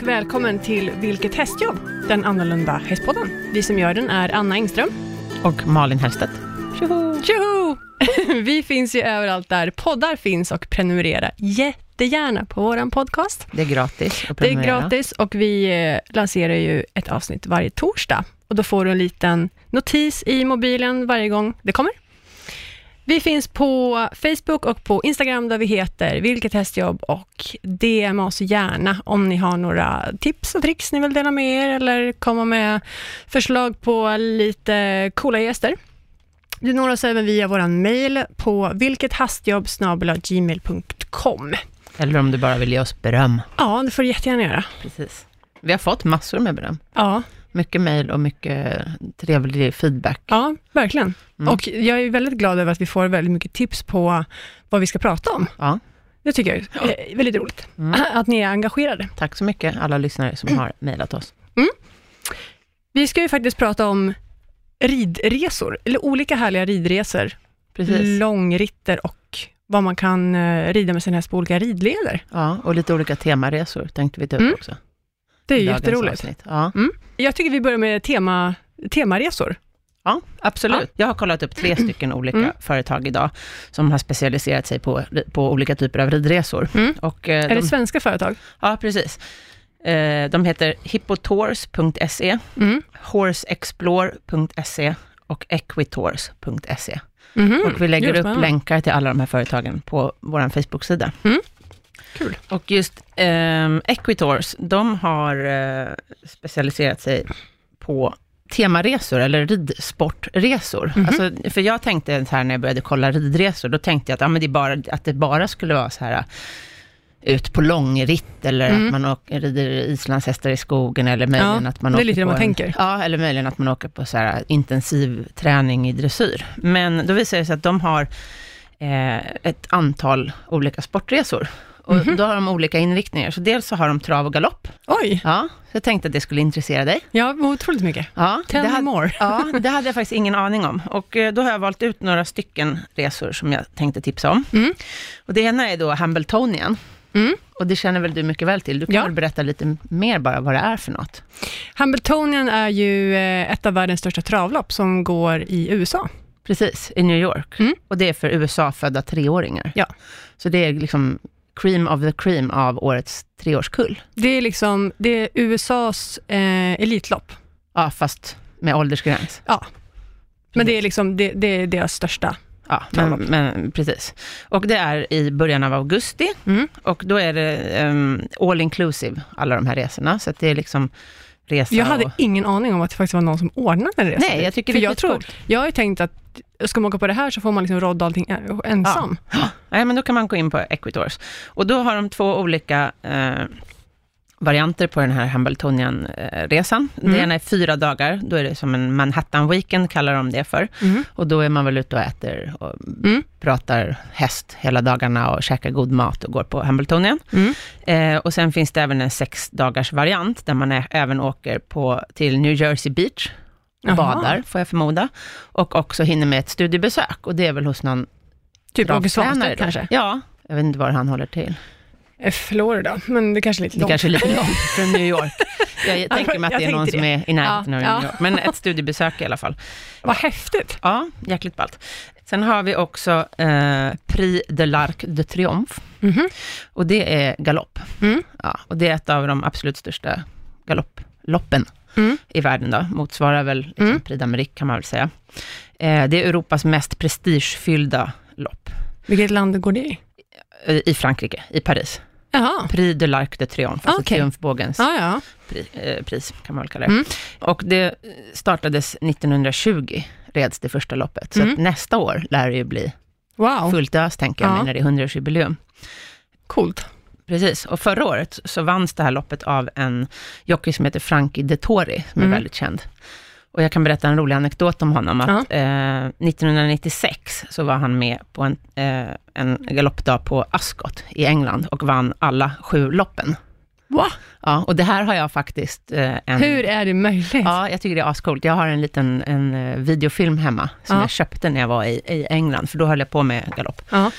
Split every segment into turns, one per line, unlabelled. välkommen till Vilket hästjobb? Den annorlunda hästpodden. Vi som gör den är Anna Engström.
Och Malin Hellstedt.
Tjoho! Vi finns ju överallt där poddar finns och prenumerera jättegärna på våran podcast.
Det är gratis att
Det är
prenumerera.
gratis och vi eh, lanserar ju ett avsnitt varje torsdag och då får du en liten notis i mobilen varje gång det kommer. Vi finns på Facebook och på Instagram där vi heter Vilket hästjobb och DM oss gärna om ni har några tips och tricks ni vill dela med er eller komma med förslag på lite coola gäster. Du når oss även via vår mail på vilkethastjobb.gmail.com.
Eller om du bara vill ge oss beröm.
Ja, det får du jättegärna göra.
Precis. Vi har fått massor med beröm.
Ja,
Mycket mejl och mycket trevlig feedback.
Ja, verkligen.
Mm.
Och jag är väldigt glad över att vi får väldigt mycket tips på vad vi ska prata om.
Ja, Mm.
Det tycker jag är eh, väldigt roligt, att ni är engagerade.
tack så mycket alla lyssnare som har mejlat oss.
Vi ska ju faktiskt prata om ridresor, eller olika härliga ridresor,
Precis.
långritter och vad man kan eh, rida med sin häst på olika ridleder.
Ja, och lite olika temaresor tänkte vi ta upp
Mm.
också.
Det är ju
i dagens
jätteroligt.
avsnitt. Ja.
Jag tycker vi börjar med tema, temaresor.
Ja, absolut. Jag har kollat upp tre stycken olika
Mm.
företag idag, som har specialiserat sig på, på olika typer av ridresor.
Mm.
Och, eh,
Är
de,
det svenska företag?
ja, precis. Eh, de heter hippotours.se,
Mm.
horseexplore.se E och equitours.se.
Mhm.
E. Och vi lägger
Gud,
upp
spännande.
länkar till alla de här företagen på vår Facebook-sida.
Mm. Kul.
Och just ehm, Equitors, de har eh, specialiserat sig på temaresor eller ridsportresor.
Mhm.
Alltså, för jag tänkte så här när jag började kolla ridresor, då tänkte jag att, ja, men det, är bara, att det bara skulle vara så här eh, ut på långritt eller att man åker, rider islandshästar i skogen eller möjligen
Mm. Ja,
att man
det är
åker
lite det
på
man
en,
tänker.
Ja, eller möjligen att man åker på så här intensiv träning i dressyr. Men då visar det sig att de har eh, ett antal olika sportresor. Och
Mhm.
då har de olika inriktningar. Så dels så har de trav och galopp.
Oj,
Ja, så jag tänkte att det skulle intressera dig.
ja, otroligt mycket.
Ja,
Tell
det
me
hade-
more.
Ja, det hade jag faktiskt ingen aning om. Och eh, då har jag valt ut några stycken resor som jag tänkte tipsa om.
Mm.
Och det ena är då Hambletonian.
Mm.
Och det känner väl du mycket väl till? Du kan
Ja.
väl berätta lite mer bara vad det är för något?
Hambletonian är ju eh, ett av världens största travlopp som går i USA.
Precis, i New York.
Mm.
Och det är för USA-födda treåringar.
Ja.
Så det är liksom cream of the cream av årets treårskull.
Det är liksom, det är USAs eh, elitlopp.
Ja, fast med åldersgräns.
Ja. Men det är liksom, det, det är deras största.
Ja, men,
Travlopp.
men precis. Och det är i början av augusti.
Mm.
Och då är det ehm, all inclusive, alla de här resorna. Så att det är liksom resa
Jag hade
och...
ingen aning om att det faktiskt var någon som ordnade en resa.
Nej, jag tycker
För
det är
jag, tror,
skitcoolt.
jag har ju tänkt att ska man åka på det här så får man liksom rodda allting en- ensam.
Nej, men då kan man gå in på Equitors. Och då har de två olika eh, varianter på den här Hambletonian-resan.
Mm.
Det ena är fyra dagar, då är det som en Manhattan-weekend, kallar de det för.
Mm.
Och då är man väl ute och äter och
Mm.
pratar häst hela dagarna och käkar god mat och går på Hambletonian.
Mm.
Eh, och sen finns det även en sex dagars variant, där man ä- även åker på, till New Jersey Beach,
Jaha.
och badar, får jag förmoda. Och också hinner med ett studiebesök, och det är väl hos någon
Typ Åke
travtränare
Svanstedt
då.
kanske.
Ja, jag vet inte var han håller till.
Eh, Florida, men det kanske är lite
Det
långt.
kanske är lite långt från New York. Jag tänker mig att
jag
det är någon
tänkte
som
det.
är i närheten
Ja,
av
ja.
New York. Men ett studiebesök i alla fall.
Vad häftigt.
Ja, jäkligt ballt. Sen har vi också eh, Prix de l'Arc de Triomphe.
Mhm.
Och det är galopp.
Mm.
Ja, och det är ett av de absolut största galopploppen
Mm.
i världen. Då. Motsvarar väl liksom
Mm.
Prix d'Amérique kan man väl säga. Eh, det är Europas mest prestigefyllda lopp.
Vilket land går det i?
eh, I Frankrike, i Paris.
Jaha,
Prix de l'Arc de Triomphe, alltså
Okej.
triumfbågens
ja, ja.
pri, eh, pris, kan man väl kalla det.
Mm.
Och det eh, startades 1920, reds det första loppet. Så
Mm.
att nästa år lär det ju bli
Wow,
fullt ös, tänker jag,
Ja.
mig, när det är 100-årsjubileum.
coolt.
Precis, och förra året så vanns det här loppet av en jockey som heter Frankie De Tori, som
Mm.
är väldigt känd. Och jag kan berätta en rolig anekdot om honom, att eh, 1996 så var han med på en, eh, en galoppdag på Ascot i England och vann alla sju loppen.
Wow.
Ja, och det här har jag faktiskt eh, en...
Hur är det möjligt?
Ja, jag tycker det är ascoolt. Jag har en liten en eh, videofilm hemma, som
Ja.
jag köpte när jag var i, i England, för då höll jag på med galopp.
Ja.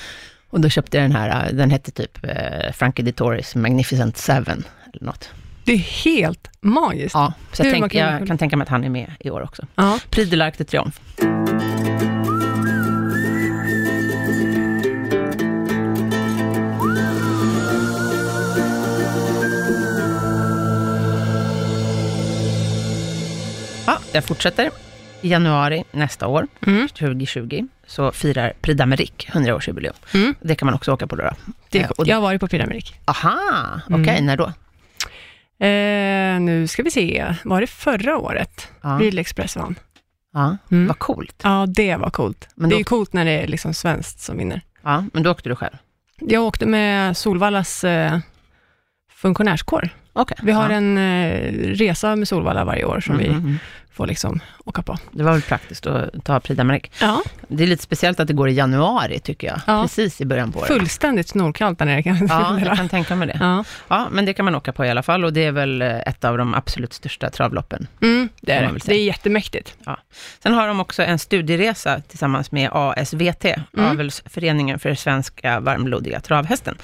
Och då köpte jag den här, eh, den hette typ eh, Frankie de Toris Magnificent Seven, eller något.
Det är helt magiskt.
Ja, så
Hur
jag, tänk,
man kan-
jag kan tänka mig att han är med i år också.
Ja.
Prix de l'Arc de Triomphe. Ja, jag fortsätter. I januari nästa år,
Mm.
2020, så firar Prix d'Amérique 100-årsjubileum.
Mm.
Det kan man också åka på då. då.
Det,
Eh, och-
jag har varit på Pyramidik.
Aha, okej,
Mm.
när då?
Eh, nu ska vi se, var det förra året?
Ja,
Real Express vann.
ja.
Mm.
vad coolt.
Ja, det var coolt.
Men
det
då-
är ju coolt när det är liksom svenskt som vinner.
Ja, men då åkte du själv?
Jag åkte med Solvallas eh, funktionärskår.
Okej.
Vi har
ja.
en eh, resa med Solvalla varje år som
Mm,
vi
mm, mm.
får liksom åka på.
Det var väl praktiskt att ta Prix d'Amérique.
Ja,
Det är lite speciellt att det går i januari, tycker jag.
Ja.
Precis i början på året.
fullständigt snorkallt där nere kan jag
Ja,
meddela.
jag kan tänka mig det.
ja.
Ja, men det kan man åka på i alla fall och det är väl eh, ett av de absolut största travloppen.
Mm, det är
Kan man
det.
väl
Det
säga.
är jättemäktigt.
Sen har de också en studieresa tillsammans med ASVT,
Mm.
Avelsföreningen för svenska varmblodiga travhästen,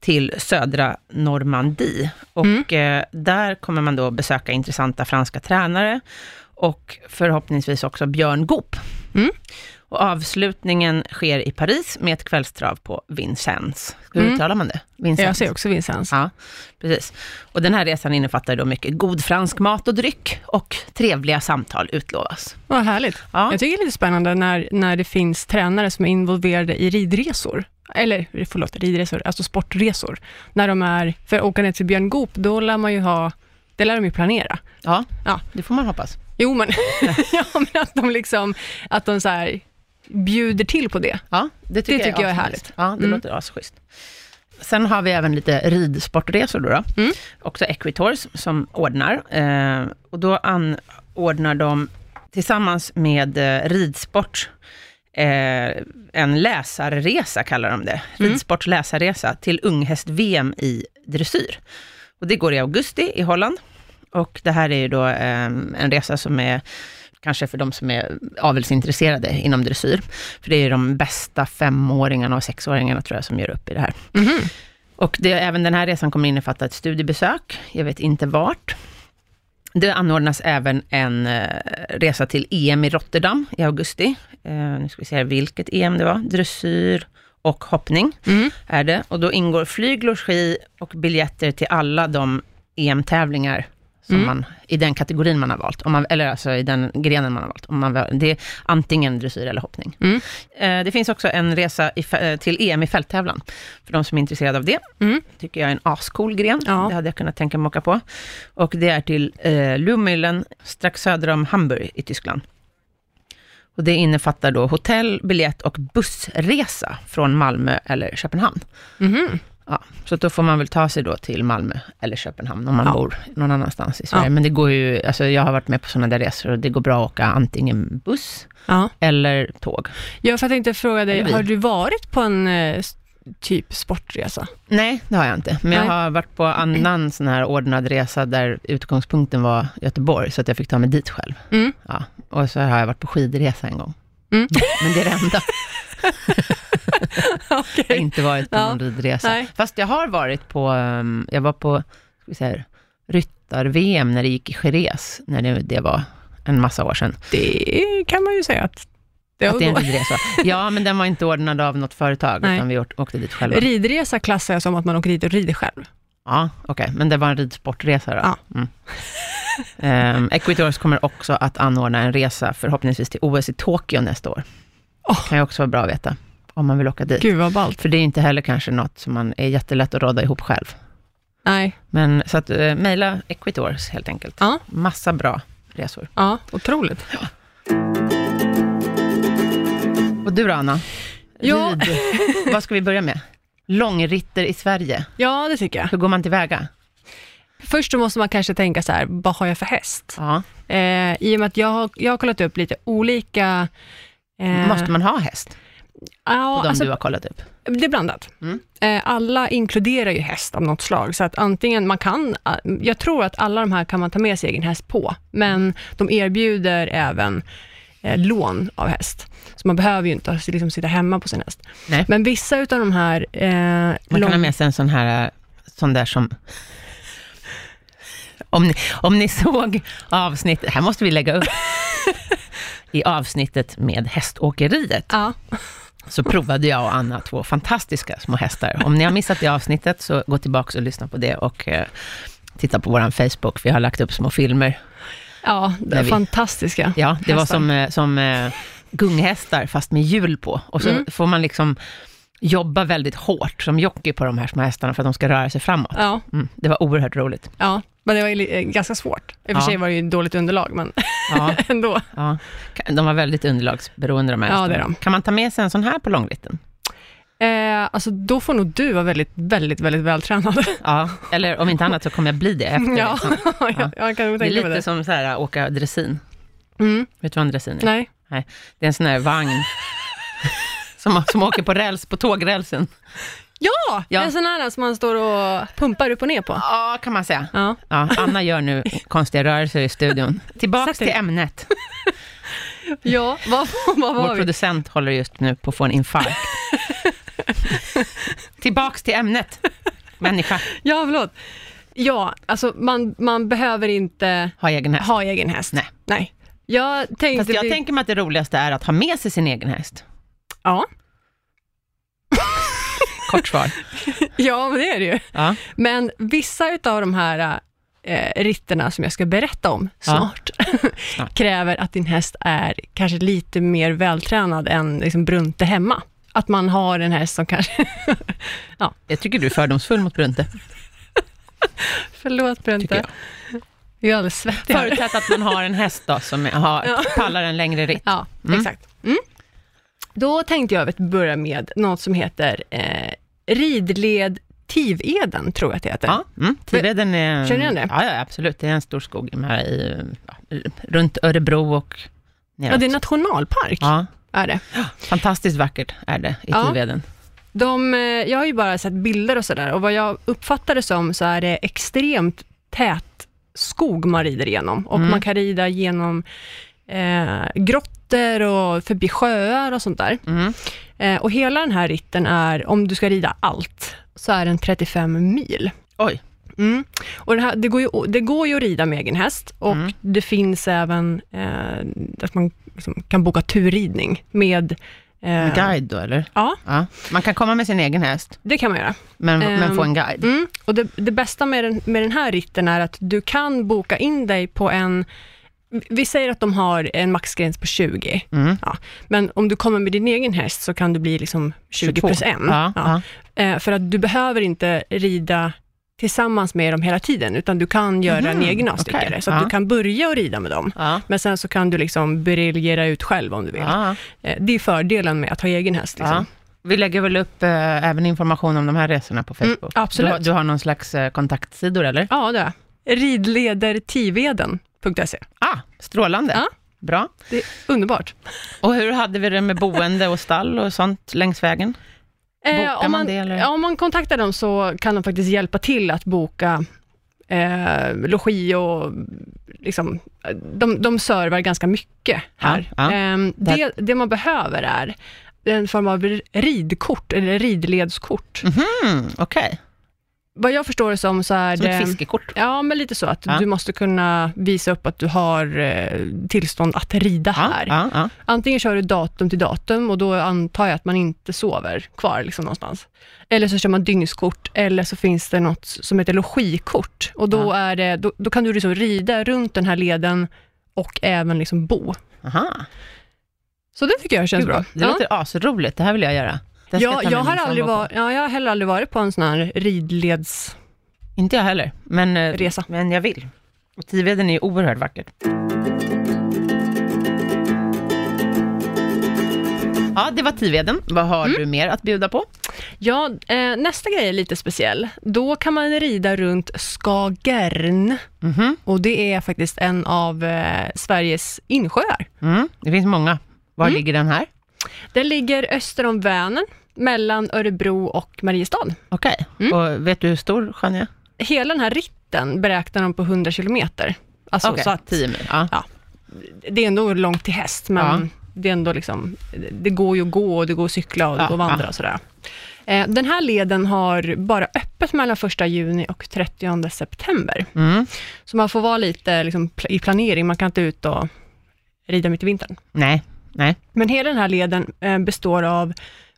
till södra Normandie. Och
Mm.
eh, där kommer man då besöka intressanta franska tränare och förhoppningsvis också Björn Goop.
Mm.
Och avslutningen sker i Paris med ett kvällstrav på Vincennes. Hur
Mm.
uttalar man det?
Jag
Vincennes.
ser också Vincennes.
Ja, precis. Och den här resan innefattar då mycket god fransk mat och dryck och trevliga samtal utlovas.
Vad härligt.
Ja.
Jag tycker det är lite spännande när, när det finns tränare som är involverade i ridresor. Eller förlåt, ridresor, alltså sportresor. När de är, för att åka ner till Björn Goop, då lär man ju ha, det lär de ju planera.
Ja,
Ja.
det får man hoppas.
Jo men, ja, men att de liksom, att de så här bjuder till på det.
Ja, det tycker,
Det tycker jag är
asschysst.
härligt.
Ja, det
Mm.
låter asschysst. Sen har vi även lite ridsportresor då. då.
Mm.
Också Equitors som ordnar. Eh, och då anordnar de tillsammans med eh, Ridsport eh, en läsarresa, kallar de det.
Mm.
Ridsports läsarresa till unghäst-VM i dressyr. Och det går i augusti i Holland. Och det här är ju då eh, en resa som är kanske för de som är avelsintresserade inom dressyr. För det är ju de bästa femåringarna och sexåringarna tror jag som gör upp i det här. Och det, även den här resan kommer innefatta ett studiebesök, jag vet inte vart. Det anordnas även en eh, resa till EM i Rotterdam i augusti. Eh, nu ska vi se här vilket EM det var, dressyr och hoppning
Mm.
är det. Och då ingår flyg, logi och biljetter till alla de EM-tävlingar som
Mm.
man, i den kategorin man har valt, om man, eller alltså i den grenen man har valt. Om man, väl- det är antingen dressyr eller hoppning.
Mm.
Eh, det finns också en resa i, fä- eh, till EM i fälttävlan, för de som är intresserade av det.
Mm.
tycker jag är en ascool gren,
Ja.
det hade jag kunnat tänka mig åka på. Och det är till eh, Lumillen, strax söder om Hamburg i Tyskland. Och det innefattar då hotell, biljett och bussresa från Malmö eller Köpenhamn.
Mhm.
Ja, så då får man väl ta sig då till Malmö eller Köpenhamn om man
Ja.
bor någon annanstans i Sverige.
Ja.
Men det går ju, alltså jag har varit med på sådana där resor och det går bra att åka antingen buss
Ja.
eller tåg.
Jag för jag tänkte fråga dig,
Eller bil.
har du varit på en eh, s- typ sportresa?
Nej, det har jag inte. Men jag
Nej.
har varit på annan sån här ordnad resa där utgångspunkten var Göteborg, så att jag fick ta mig dit själv.
Mm.
Ja. Och så har jag varit på skidresa en gång.
Mm.
Men det är det enda.
Okej.
Jag har inte varit på
Ja.
någon ridresa.
Nej.
Fast jag har varit på, ehm, jag var på, ska vi säga, här, ryttar-VM när det gick i Jerez, när det, det var en massa år sedan.
Det kan man ju säga att det
Att det är en
har
ridresa. Ja, men den var inte ordnad av något företag,
Nej.
utan vi åt- åkte dit själva.
Ridresa klassar jag som att man åker dit och rider själv.
Ja, okej, men det var en ridsportresa då.
Ja.
Mm. Ehm, Equitors kommer också att anordna en resa, förhoppningsvis till OS i Tokyo nästa år.
Åh.
Kan ju också vara bra att veta, om man vill åka dit.
Gud vad ballt.
För det är inte heller kanske något som man är jättelätt att råda ihop själv.
Nej,
Men så att eh, mejla Equitors helt enkelt.
Ja.
Massa bra resor.
ja, otroligt.
Och du då Anna?
Ja.
Rid. Vad ska vi börja med? Långritter i Sverige.
Ja, det tycker jag.
Hur går man tillväga?
Först så måste man kanske tänka så här, vad har jag för häst?
Ja.
Eh, I och med att jag har, jag har kollat upp lite olika... eh,
Måste man ha häst? På
Ja,
de
alltså,
du har kollat upp.
det är blandat.
Mm.
Eh, alla inkluderar ju häst av något slag, så att antingen man kan... eh, Jag tror att alla de här kan man ta med sig egen häst på, men de erbjuder även eh, lån av häst. Så man behöver ju inte liksom, sitta hemma på sin häst.
Nej.
Men vissa utav de här... Eh,
Man
lång-
kan ha med sig en sån här, eh, sån där som Om ni, om ni såg avsnittet, här måste vi lägga upp, i avsnittet med häståkeriet,
Ja.
så provade jag och Anna två fantastiska små hästar. Om ni har missat det avsnittet, så gå tillbaka och lyssna på det och eh, titta på vår Facebook, vi har lagt upp små filmer.
ja, det
Där
är
vi-
fantastiska.
Ja, det var
Hästar.
som, eh, som eh, gunghästar, fast med hjul på. Och så
Mm.
får man liksom jobba väldigt hårt som jockey på de här små hästarna, för att de ska röra sig framåt.
Ja,
Mm, det var oerhört roligt.
ja. Men det var ju li- eh, ganska svårt. I och för
Ja.
sig var det ju dåligt underlag, men
Ja,
ändå.
ja. De var väldigt underlagsberoende de här
Ja,
hästarna.
det är de.
Kan man ta med sig en sån här på långritten?
Eh, alltså, då får nog du vara väldigt, väldigt, väldigt vältränad.
Ja, eller om inte annat så kommer jag bli det efter.
ja,
liksom.
jag, jag kan nog tänka
Det är
mig
lite
det.
som så här, åka dressin.
Mm,
Vet du vad en dressin är?
nej.
Det är en sån här vagn som, som åker på räls, på tågrälsen.
Ja,
Ja.
en sån här som man står och pumpar upp och ner på.
Ja, kan man säga.
Ja.
Ja, Anna gör nu konstiga rörelser i studion. Tillbaks
Satt
till
det.
ämnet.
Ja, vad, vad var
Vår
vi?
producent håller just nu på att få en infarkt. Tillbaks till ämnet. Människa,
Ja, förlåt. Ja, alltså man, man behöver inte
ha egen häst.
ha egen häst.
Nej.
Nej. Jag tänkte... typ-
Fast jag
bli-
tänker mig att det roligaste är att ha med sig sin egen häst.
Ja.
Kort svar.
ja, men det är det ju.
Ja.
Men vissa utav de här eh, ritterna som jag ska berätta om snart,
Snart.
kräver att din häst är kanske lite mer vältränad än liksom Brunte hemma. Att man har en häst som kanske...
Jag tycker du är fördomsfull mot Brunte.
Förlåt
Tycker
Brunte,
jag.
jag är alldeles svettig här.
Förutsatt att man har en häst då, som har,
Ja.
pallar en längre ritt.
Ja,
Mm.
exakt. Mm. Då tänkte jag börja med något som heter eh, ridled Tiveden, tror jag att det heter.
Ja, mm. Tiveden är...
Känner du igen det?
Ja, ja, absolut. Det är en stor skog med, i, ja, runt Örebro och neråt.
Ja, det är nationalpark,
Ja,
är det.
fantastiskt vackert är det i
Ja.
Tiveden.
De, eh, jag har ju bara sett bilder och sådär, och vad jag uppfattar det som så är det extremt tät skog man rider igenom, och
Mm.
man kan rida genom eh, grottor och förbi sjöar och sånt där.
Mm.
Eh, och hela den här ritten är, om du ska rida allt, så är den 35 mil.
Oj.
Mm. Och det, här, det, går ju, det går ju att rida med egen häst och
Mm.
det finns även eh, att man liksom kan boka turridning med
En
eh,
guide då, eller?
Ja.
Man kan komma med sin egen häst,
Det kan man göra.
men, men
Ehm,
få en guide.
Mm. Och det, det bästa med den, med den här ritten är att du kan boka in dig på en vi säger att de har en maxgräns på 20,
Mm.
men om du kommer med din egen häst så kan du bli liksom 20 plus 1.
Ja, ja.
Eh, För att du behöver inte rida tillsammans med dem hela tiden, utan du kan göra en
Mhm,
egen avstickare.
okej,
Så att
ja.
du kan börja att rida med dem,
Ja.
men sen så kan du liksom briljera ut själv om du vill.
Ja.
Eh, Det är fördelen med att ha egen häst.
Ja.
Liksom.
Vi lägger väl upp eh, även information om de här resorna på
Mm,
Facebook.
absolut.
Du, du har någon slags eh, kontaktsidor, eller?
Ja, det är jag. Ridledertiveden.se.
Ah, strålande.
Ja.
Bra.
E. Det är underbart.
Och hur hade vi det med boende och stall och sånt längs vägen? Bokar man det, eller?
ja, Eh, om man kontaktar dem så kan de faktiskt hjälpa till att boka eh, logi och liksom, de, de servar ganska mycket här.
Ja, ja.
Ehm,
Där-
det, det man behöver är en form av ridkort eller ridledskort.
Mhm, Okej,
Vad jag förstår det som så är
som
det...
ett fiskekort.
Ja, men lite så att
Ja.
du måste kunna visa upp att du har eh, tillstånd att rida här.
Ja, ja,
Antingen kör du datum till datum och då antar jag att man inte sover kvar liksom någonstans. Eller så kör man dygnskort eller så finns det något som heter logikort och då,
Ja.
är det, då, då kan du liksom rida runt den här leden och även liksom bo.
ja. Aha.
Så det tycker jag känns
Gud,
bra.
Det låter asroligt, det här vill jag göra. Det
ja.
ska ta
Ja, jag,
med min
har aldrig
sambo på.
var, ja, jag har heller aldrig varit på en sån här ridleds...
Inte jag heller, men, eh,
Resa.
men jag vill. Och Tiveden är ju oerhört vackert. Ja, det var Tiveden. Vad har
Mm.
du mer att bjuda på?
Ja, eh, nästa grej är lite speciell. Då kan man rida runt Skagern
Mhm.
och det är faktiskt en av eh, Sveriges insjöar.
Mm. Det finns många. Var
Mm.
ligger den här?
Den ligger öster om Vänern, mellan Örebro och Mariestad.
Okej.
Mm.
Och vet du hur stor sjön är?
Hela den här ritten beräknar de på 100 kilometer. Alltså,
Okej,
så att
10 mil. Ja.
det är ändå långt till häst, men
Ja.
det är ändå liksom, det går ju att gå och det går att cykla och det
Ja,
går att vandra
ja.
och sådär. Eh, Den här leden har bara öppet mellan 1 juni och 30 september,
Mm.
så man får vara lite liksom, pl- i planering, man kan inte ut och rida mitt i vintern.
Nej, nej.
Men hela den här leden eh, består av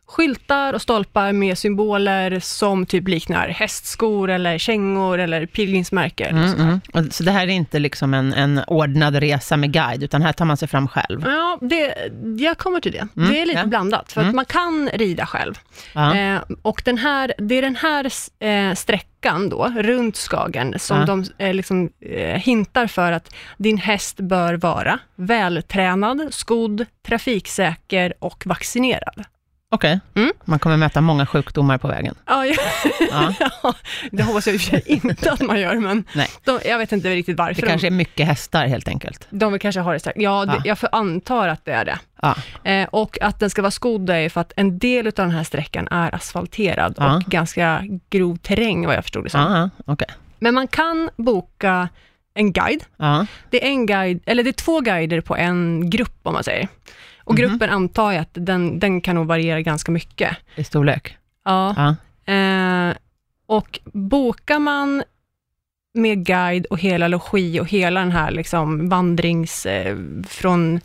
skyltar och stolpar med symboler som typ liknar hästskor eller kängor eller pilgrimsmärken.
Mm, mm. Och Så det här är inte liksom en, en ordnad resa med guide, utan här tar man sig fram själv.
Ja, det, jag kommer till det.
Mm,
det är lite
ja.
blandat, för att
Mm.
man kan rida själv.
Ja.
Eh, och den här, det är den här eh, sträckan då, runt Skagen, som
Ja.
de eh, liksom, eh, hintar för att din häst bör vara vältränad, skodd, trafiksäker och vaccinerad.
Okej,
Mm.
man kommer möta många sjukdomar på vägen.
Ja, ja.
Ja.
Ja, det hoppas jag i och för sig inte att man gör, men
Nej.
de, jag vet inte riktigt
Det
varför.
kanske är mycket hästar helt enkelt.
de, de vill kanske ha det starkt. Ja, det,
Ja.
jag för, antar att det är det.
Ja.
Eh, och att den ska vara skodd är för att en del av den här sträckan är asfalterad
Ja.
och ganska grov terräng, vad jag förstod det som.
Ja, ja, okej.
Men man kan boka en guide.
Ja.
Det är, en guide, eller det är två guider på en grupp, om man säger. Och
Mhm.
gruppen antar jag att den, den kan nog variera ganska mycket.
I storlek.
Ja.
Ja.
Eh, och bokar man med guide och hela logi och hela den här liksom vandrings eh, från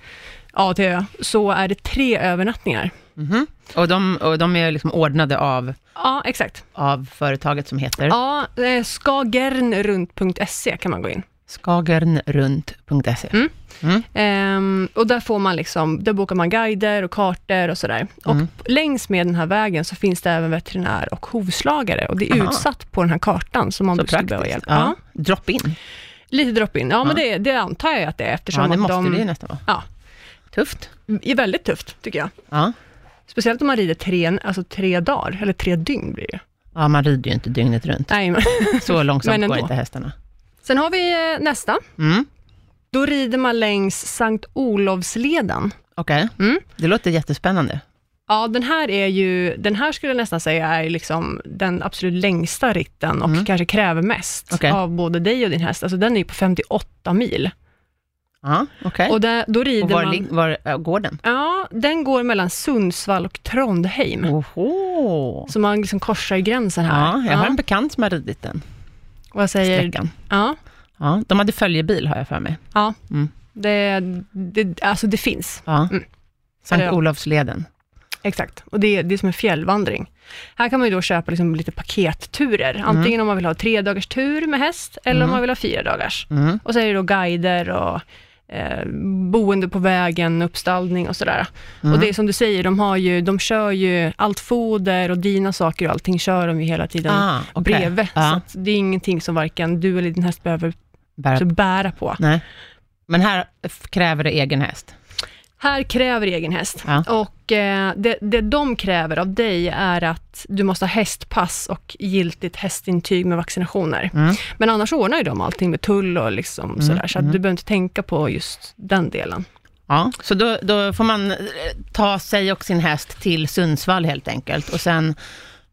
A till Ö, så är det tre övernattningar.
Mhm. Och, de, och de är liksom ordnade av,
Ja, exakt.
av företaget som heter
Ja, eh, skagernrunt.se E kan man gå in.
skagernrunt.se.
Ehm, och där får man liksom, där bokar man guider och kartor och sådär.
Mm.
Och längs med den här vägen så finns det även veterinär och hovslagare och det är
Aha.
utsatt på den här kartan som man
Så
skulle behöva
praktiskt.
hjälp.
Ja. Drop in.
Lite drop-in, ja, men
Ja.
det, det antar jag att det är eftersom
Ja, det
att
måste
de
det ju nästan vara.
Ja.
Tufft.
är väldigt tufft, tycker jag.
Ja.
Speciellt om man rider tre, alltså tre dagar, eller tre dygn blir det ju.
ja, man rider ju inte dygnet runt.
Nej, men.
Så
Men
långsamt
ändå.
går inte hästarna.
Sen har vi eh, nästa.
Mm.
Då rider man längs Sankt Olovsleden.
Okej,
Mm.
det låter jättespännande.
Ja, den här är ju, den här skulle jag nästan säga är liksom den absolut längsta ritten och
Mm.
kanske kräver mest
Okej.
av både dig och din häst. Alltså den är ju på 58 mil.
Ja, okej.
Och där, då rider
Och var,
man...
lig- var äh, går den?
Ja, den går mellan Sundsvall och Trondheim.
Oho.
Så man liksom korsar ju gränsen här.
Mm. Ja, jag har en bekant som har ridit den
Vad säger...
sträckan.
Ja,
Ja, de hade följebil har jag för mig.
det, det, alltså det finns.
Ja.
Mm.
Sankt
Ja.
Olofsleden.
Exakt, och det, är- det är som en fjällvandring. Här kan man ju då köpa liksom lite paketturer, antingen om man vill ha tre dagars tur med häst, eller om
Mm.
man vill ha fyra dagars.
Mm.
Och så är det då guider och eh, boende på vägen, uppstallning och sådär.
Mm.
Och det är som du säger, de, har ju, de kör ju allt foder och dina saker och allting kör de ju hela tiden
ah, okej.
bredvid. Så
Ja,
att det är ingenting som varken du eller din häst behöver
bära.
bära på.
Nej. Men här f- kräver det egen häst.
Här kräver egen häst.
Ja.
Och eh, det, det de kräver av dig är att du måste ha hästpass och giltigt hästintyg med vaccinationer.
Mm.
Men annars ordnar ju de allting med tull och liksom sådär, så att du behöver inte tänka på just den delen.
Ja, så då, då får man eh, ta sig och sin häst till Sundsvall helt enkelt. Och sen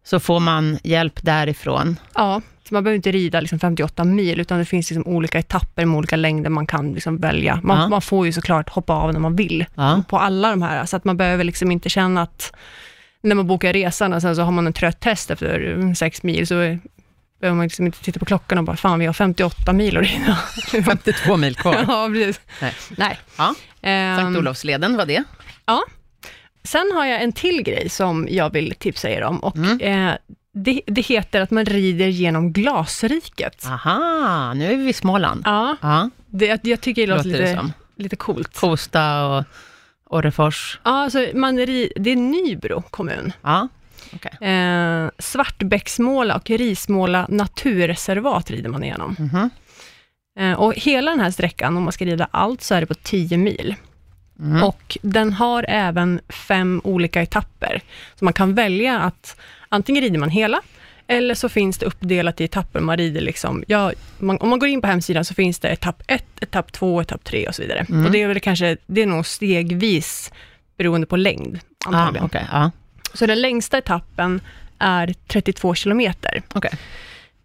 så får man hjälp därifrån.
Ja, så man behöver inte rida liksom 58 mil, utan det finns liksom olika etapper med olika längder man kan liksom välja. Man,
Ja.
man får ju såklart hoppa av när man vill
Ja.
på alla de här, så att man behöver liksom inte känna att när man bokar resan och sen så har man en trött häst efter mm, sex mil, så är- behöver man liksom inte titta på klockan och bara, fan vi har 58 mil att rida.
Mm. 52 mil kvar.
ja, precis.
Nej.
Nej.
Ja, Um.
Ehm,
Sankt Olofsleden var det.
sen har jag en till grej som jag vill tipsa er om och
Mm.
eh, det, det heter att man rider genom glasriket.
Aha, nu är vi i Småland.
Ja,
Ja,
det, jag, jag tycker det låter,
Ah. låter det
lite,
som.
lite coolt.
Kosta och Orrefors.
Ja, alltså man ri, det är Nybro kommun.
Ja,
Eh, Svartbäcksmåla och Rismåla naturreservat rider man igenom.
mhm.
Eh, och hela den här sträckan, om man ska rida allt, så är det på 10 mil.
Mm.
Och den har även fem olika etapper. Så man kan välja att antingen rider man hela, eller så finns det uppdelat i etapper. Man rider liksom, ja, man, om man går in på hemsidan så finns det etapp 1, etapp 2, etapp 3 och så vidare.
Mm.
Och det är väl kanske, det är nog stegvis beroende på längd
ah,
antagligen.
okej. ja,
Så den längsta etappen är 32 kilometer.
okej.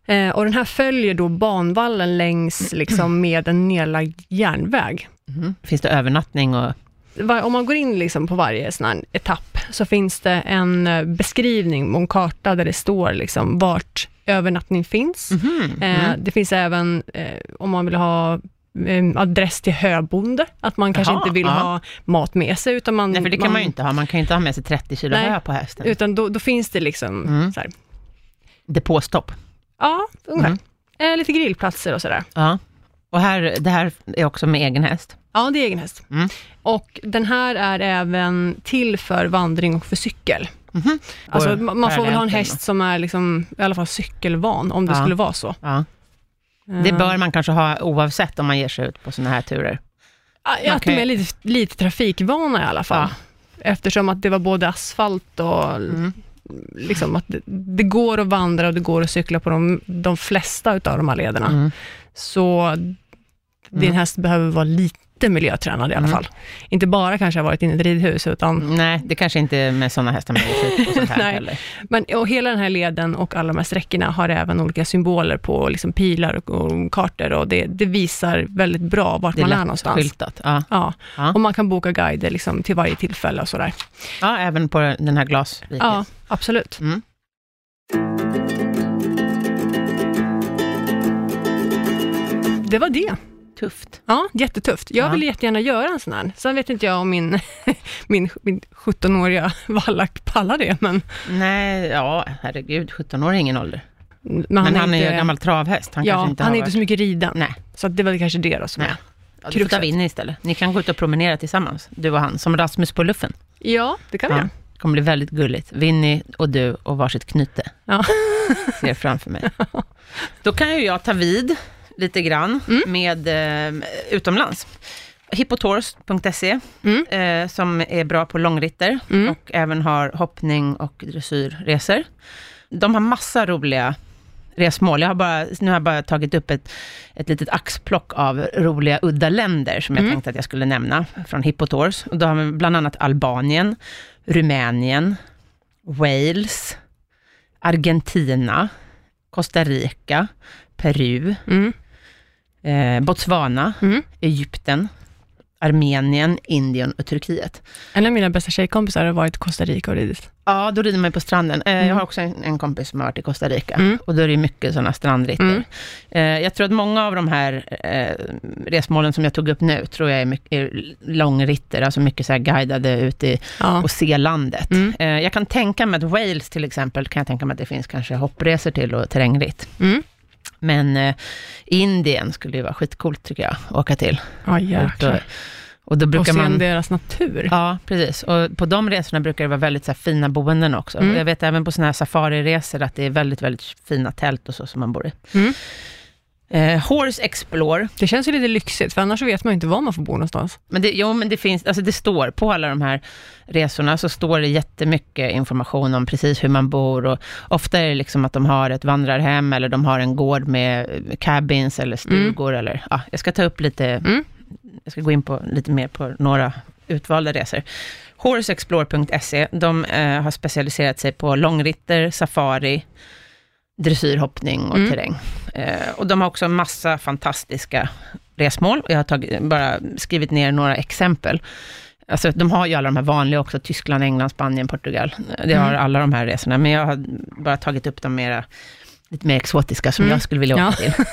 Eh, och den här följer då banvallen längs liksom, med en nedlagd järnväg.
Mhm. Finns det övernattning och...
Va- Om man går in liksom på varje sån här etapp, så finns det en eh, beskrivning, en karta där det står liksom vart övernattning finns.
Mhm.
Eh,
Mm.
Det finns även eh, om man vill ha eh, adress till höbonde, att man kanske
Jaha,
inte vill
ja.
ha mat med sig, utan man...
Nej, för det kan man ju inte ha. Man kan ju inte ha med sig 30 kilo
Nej.
hö på hästen.
Utan då, då finns det liksom,
Mm.
så här,
Depåstopp.
ja, ungefär.
Mm.
Eh, lite grillplatser och sådär.
Ja. Och här, det här är också med egen häst.
Ja, det är egen häst.
Mm.
Och den här är även till för vandring och för cykel.
Mhm.
Alltså,
Går
ma- man får väl ha en
parallellt
häst som är liksom, i alla fall cykelvan, om det
Ja.
skulle vara så.
Ja. Det
Eh,
bör man kanske ha oavsett om man ger sig ut på sådana här turer. man
Att
kan
de
ju-
är lite, lite trafikvana i alla fall. Eftersom att det var både asfalt och
Mm.
liksom att det, det går att vandra och det går att cykla på de, de flesta utav de här lederna.
Mm.
Så din
Mm.
häst behöver vara lite miljötränad i alla
Mm.
fall. Inte bara kanske ha varit inne i ett ridhus, utan
Nej, det kanske inte är med sådana hästar man ger sig ut på sånt här
Nej.
heller.
men, och hela den här leden och alla de här sträckorna har även olika symboler på liksom pilar och, och kartor och det, det visar väldigt bra vart
Det är
man är
lätt
någonstans.
skyltat. Ja.
Ja.
Ja.
och man kan boka guider liksom till varje tillfälle och sådär.
ja, även på den här glasriket.
Ja, absolut.
Mm.
Det var det.
Tufft.
Ja, jättetufft. Jag
Ja.
vill jättegärna göra en sån här. Sen vet inte jag om min, min, min 17-åriga vallack pallar det, men,
Nej, ja, herregud, 17 år är ingen ålder.
men,
Men han är ju en gammal travhäst. Han
ja,
kanske inte
han
har
är inte så mycket riden.
Nej.
Så att det var kanske det då som
Nej.
är.
Ja, du får ta
Kruxet.
Vinny istället. Ni kan gå ut och promenera tillsammans, du och han, som Rasmus på luffen.
Ja, det kan vi göra.
Det kommer bli väldigt gulligt. Vinny och du och varsitt knyte.
Ja.
Ser jag framför mig. Då kan ju jag ta vid lite grann med eh, utomlands. Hippotors.se,
Mm.
eh, som är bra på långritter
Mm.
och även har hoppning och dressyrresor. De har massa roliga resmål. Jag har bara, nu har jag bara tagit upp ett, ett litet axplock av roliga udda länder som jag
Mm.
tänkte att jag skulle nämna från Hippotors. Och då har vi bland annat Albanien, Rumänien, Wales, Argentina, Costa Rica, Peru,
Mm.
eh, Botswana,
Mm.
Egypten, Armenien, Indien och Turkiet.
En av mina bästa tjejkompisar har varit i Costa Rica och ridit.
Ja, då rider man ju på stranden. Eh, Jag
Mm.
har också en, en kompis som har varit i Costa Rica.
Mm.
Och då är det ju mycket sådana strandritter.
Mm.
Eh, jag tror att många av de här eh, resmålen som jag tog upp nu, tror jag är, mycket, är långritter, alltså mycket så här guidade ut i,
Ja.
och se landet.
Mm.
Eh, jag kan tänka mig att Wales till exempel, kan jag tänka mig att det finns kanske hoppresor till och terrängritt.
Mm.
Men eh, Indien skulle ju vara skitcoolt tycker jag, åka till.
Ja,
Ut och,
jäklar.
och då
Och
brukar
se
man...
deras natur.
Ja, precis. Och på de resorna brukar det vara väldigt så här, fina boenden också.
Mm.
Jag vet även på sådana här safariresor att det är väldigt, väldigt fina tält och så som man bor i.
Mm.
Eh, Horse Explore,
Det känns ju lite lyxigt, för annars så vet man ju inte var man får bo någonstans.
men det, jo men det finns, alltså det står på alla de här resorna, så står det jättemycket information om precis hur man bor och ofta är det liksom att de har ett vandrarhem eller de har en gård med eh, cabins eller stugor eller, ja, jag ska ta upp lite,
Mm.
jag ska gå in på lite mer på några utvalda resor. Horseexplore.se, de eh, har specialiserat sig på långritter, safari, dressyrhoppning och
Mm.
terräng. Eh, och de har också massa fantastiska resmål. Jag har tagit, bara skrivit ner några exempel. Alltså, de har ju alla de här vanliga också, Tyskland, England, Spanien, Portugal. Eh, Det har
Mm.
alla de här resorna, men jag har bara tagit upp de mera, lite mer exotiska som
Mm.
jag skulle vilja åka
Ja.
till.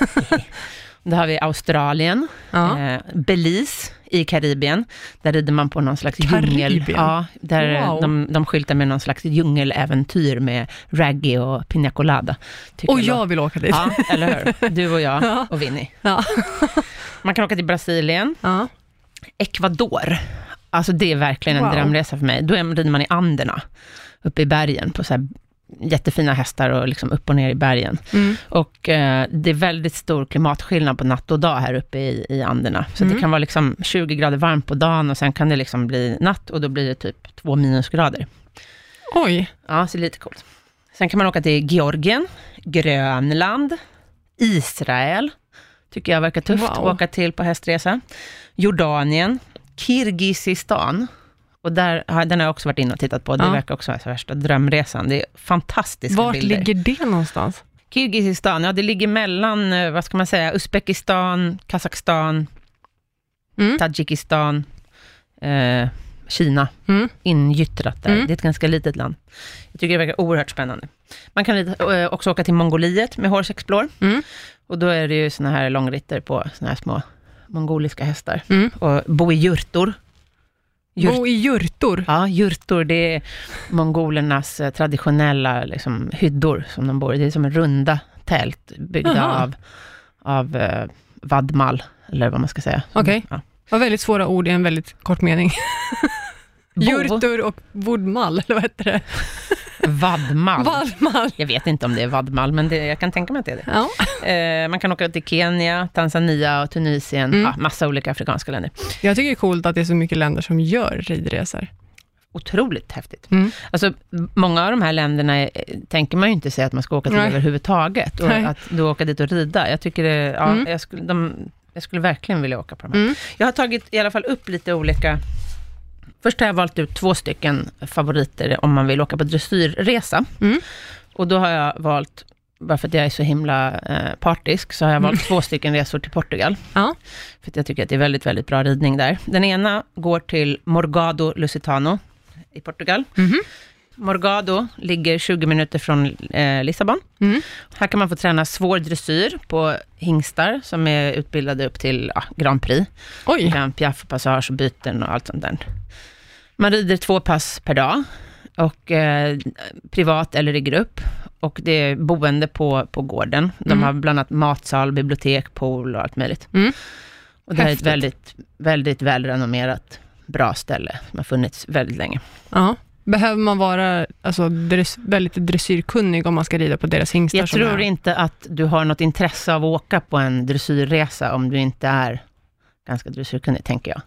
Då har vi Australien,
Ja.
eh, Belize i Karibien. Där rider man på någon slags
Karibien?
djungel. Ja, där
Wow.
de, de skyltar med någon slags djungeläventyr med raggy och pina colada. tycker
Och
låter-
jag vill åka dit.
Ja, eller hur? Du och jag
Ja.
och Winnie.
Ja.
Man kan åka till Brasilien,
Ja.
Ecuador. Alltså det är verkligen en
Wow.
drömresa för mig. Då är- rider man i Anderna, uppe i bergen, på så här jättefina hästar och liksom upp och ner i bergen.
Mm.
Och eh, det är väldigt stor klimatskillnad på natt och dag här uppe i, i Anderna. Så
Mm.
det kan vara liksom 20 grader varmt på dagen och sen kan det liksom bli natt och då blir det typ två minusgrader.
Oj.
Ja, så det är lite coolt. Sen kan man åka till Georgien, Grönland, Israel, tycker jag verkar tufft
Wow.
att åka till på hästresa. Jordanien, Kirgizistan, och där, har- den har jag också varit inne och tittat på. Det
Ja.
verkar också vara så värsta drömresan. Det är fantastiska
Vart
bilder.
ligger det någonstans?
Kirgizistan, ja det ligger mellan, eh, vad ska man säga, Uzbekistan, Kazakstan,
Mm.
Tadzjikistan, eh, Kina
Mm.
ingyttrat där.
Mm.
Det är ett ganska litet land. Jag tycker det verkar oerhört spännande. Man kan rida- eh, också åka till Mongoliet med Horse Explore.
Mm.
Och då är det ju såna här långritter på såna här små mongoliska hästar.
Mm.
Och bo i jurtor. Jurt-
Bo i jurtor.
Ja, jurtor, det är mongolernas eh, traditionella liksom, hyddor som de bor i. Det är som en runda tält byggda
Jaha.
av, av eh, vadmal, eller vad man ska säga. Mm,
Okej.
Ja.
Var väldigt svåra ord i en väldigt kort mening.
Bo,
Jurtor och vodmall, eller vad heter det?
Vadmal.
Vallmall.
Jag vet inte om det är vadmal, men det, jag kan tänka mig att det är det.
Ja.
Eh, man kan åka till Kenya, Tanzania och Tunisien,
Mm.
ja, massa olika afrikanska länder.
Jag tycker det är coolt att det är så mycket länder som gör ridresor.
Otroligt häftigt.
Mm.
Alltså, många av de här länderna eh, tänker man ju inte sig att man ska åka till
Nej.
överhuvudtaget. Och
Nej.
att då åka dit och rida. Jag tycker det, ja,
Mm.
jag, skulle, de, jag skulle verkligen vilja åka på de här.
Mm.
Jag har tagit i alla fall upp lite olika... Först har jag valt ut två stycken favoriter om man vill åka på dressyrresa.
Mm.
Och då har jag valt, bara för att jag är så himla eh, partisk, så har jag valt två stycken resor till Portugal.
Mm. Ja.
För att jag tycker att det är väldigt, väldigt bra ridning där. Den ena går till Morgado Lusitano i Portugal.
Mhm.
Morgado ligger 20 minuter från eh, Lissabon.
Mm.
Här kan man få träna svår dressyr på hingstar som är utbildade upp till ja, Grand Prix.
Oj.
Grand Piaf, passage och byten och allt sånt där. Man rider två pass per dag, och, eh, privat eller i grupp. Och det är boende på, på gården. De
Mm.
har bland annat matsal, bibliotek, pool och allt möjligt.
Mm.
Och det här är ett
Häftigt.
väldigt, väldigt välrenommerat, bra ställe som har funnits väldigt länge.
Ja. Behöver man vara alltså, dress, väldigt dressyrkunnig om man ska rida på deras hingstar?
Jag
som
tror
är-
inte att du har något intresse av att åka på en dressyrresa om du inte är ganska dressyrkunnig, tänker jag.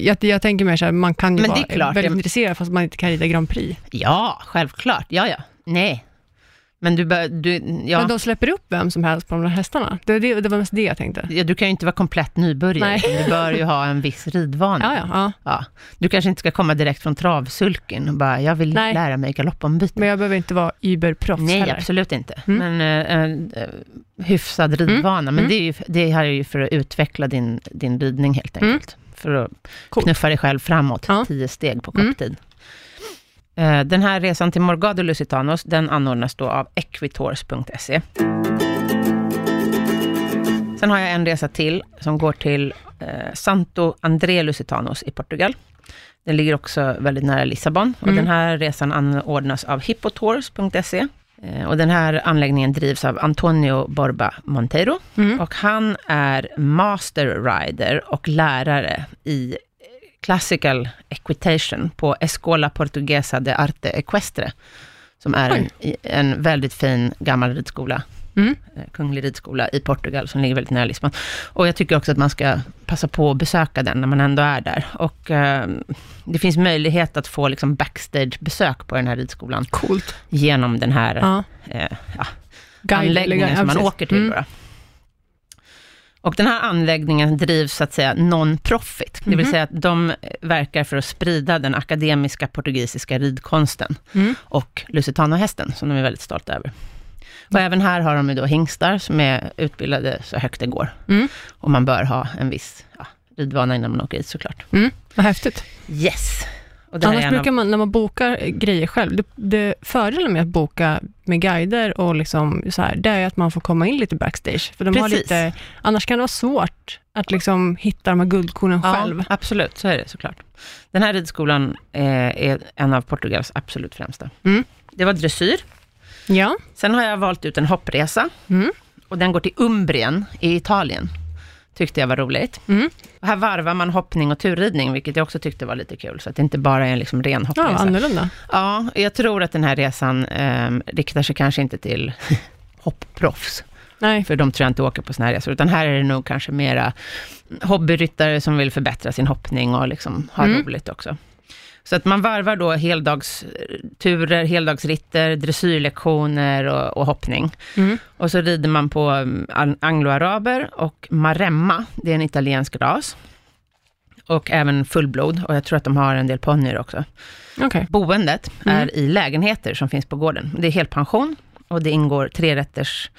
jag, jag tänker mer så här, man kan ju
Men det är
vara
klart,
väldigt
det-
intresserad fast man inte kan rida Grand Prix.
Ja, självklart. Ja, ja. Nej. Men du, bör, du,
Men
ja,
de släpper upp vem som helst på de där hästarna. Det, det, det var mest det jag tänkte.
ja, du kan ju inte vara komplett nybörjare.
Nej.
utan Du bör ju ha en viss ridvana.
Ja, ja, ja.
Ja. Du kanske inte ska komma direkt från travsulken och bara, jag vill
Nej.
lära mig galoppombyte.
Men jag behöver inte vara überproffs
Nej,
heller.
absolut inte.
Mm.
Men eh, eh, hyfsad ridvana. Men
Mm.
Det, är ju, det här är ju för att utveckla din, din ridning helt
Mm.
enkelt. För att
Coolt.
knuffa dig själv framåt,
Ja.
tio steg på kort
Mm.
tid. Eh, Den här resan till Morgado Lusitanos, den anordnas då av equitors.se. Sen har jag en resa till som går till eh, Santo André Lusitanos i Portugal. Den ligger också väldigt nära Lissabon. Och
Mm.
Den här resan anordnas av hippotours.se. Eh, Och den här anläggningen drivs av Antonio Borba Monteiro.
Mm.
Och han är master rider och lärare i eh, classical equitation på Escola Portuguesa de Arte Equestre, som är en, en väldigt fin gammal ridskola,
Mm.
eh, kunglig ridskola i Portugal, som ligger väldigt nära Lissabon. Och jag tycker också att man ska passa på att besöka den, när man ändå är där. Och eh, det finns möjlighet att få liksom backstage-besök på den här ridskolan,
Coolt.
genom den här
Ja.
eh, ja,
Guide eller
anläggningen
guide,
som
ja,
man
precis.
åker till.
Mm.
Då. Och den här anläggningen drivs så att säga non-profit, det vill
Mhm.
säga att de eh, verkar för att sprida den akademiska portugisiska ridkonsten
Mm.
och lusitanohästen, som de är väldigt stolta över. Och även här har de ju då hingstar som är utbildade så högt det går.
Mm.
Och man bör ha en viss ja, ridvana innan man åker dit såklart.
Mm. Vad häftigt.
Yes! Och det här är
Annars
en av-
brukar man, när man bokar eh, grejer själv, det, det fördelen med att boka med guider och liksom så här, det är att man får komma in lite backstage. För de har
Precis.
lite, annars kan det vara svårt att liksom hitta de här guldkornen själv.
absolut, så är det såklart. Den här ridskolan eh, är en av Portugals absolut främsta.
Mm.
Det var dressyr.
Ja.
Sen har jag valt ut en hoppresa.
Mm.
Och den går till Umbrien i Italien. Tyckte jag var roligt.
Mm.
Och här varvar man hoppning och turridning, vilket jag också tyckte var lite kul. Så att det inte bara är en liksom ren
Ja,
hoppresa.
annorlunda.
Ja, jag tror att den här resan eh, riktar sig kanske inte till hoppproffs.
Nej.
För de tror jag inte åker på såna här resor. Utan här är det nog kanske mera hobbyryttare som vill förbättra sin hoppning och liksom ha
Mm.
roligt också. Så att man varvar då heldagsturer, heldagsritter, dressyrlektioner och, och hoppning.
Mm.
Och så rider man på mm, an- angloaraber och maremma, det är en italiensk ras. Och även fullblod, och jag tror att de har en del ponnyer också.
Okej.
Boendet
Mm.
är i lägenheter som finns på gården. Det är helpension och det ingår trerätters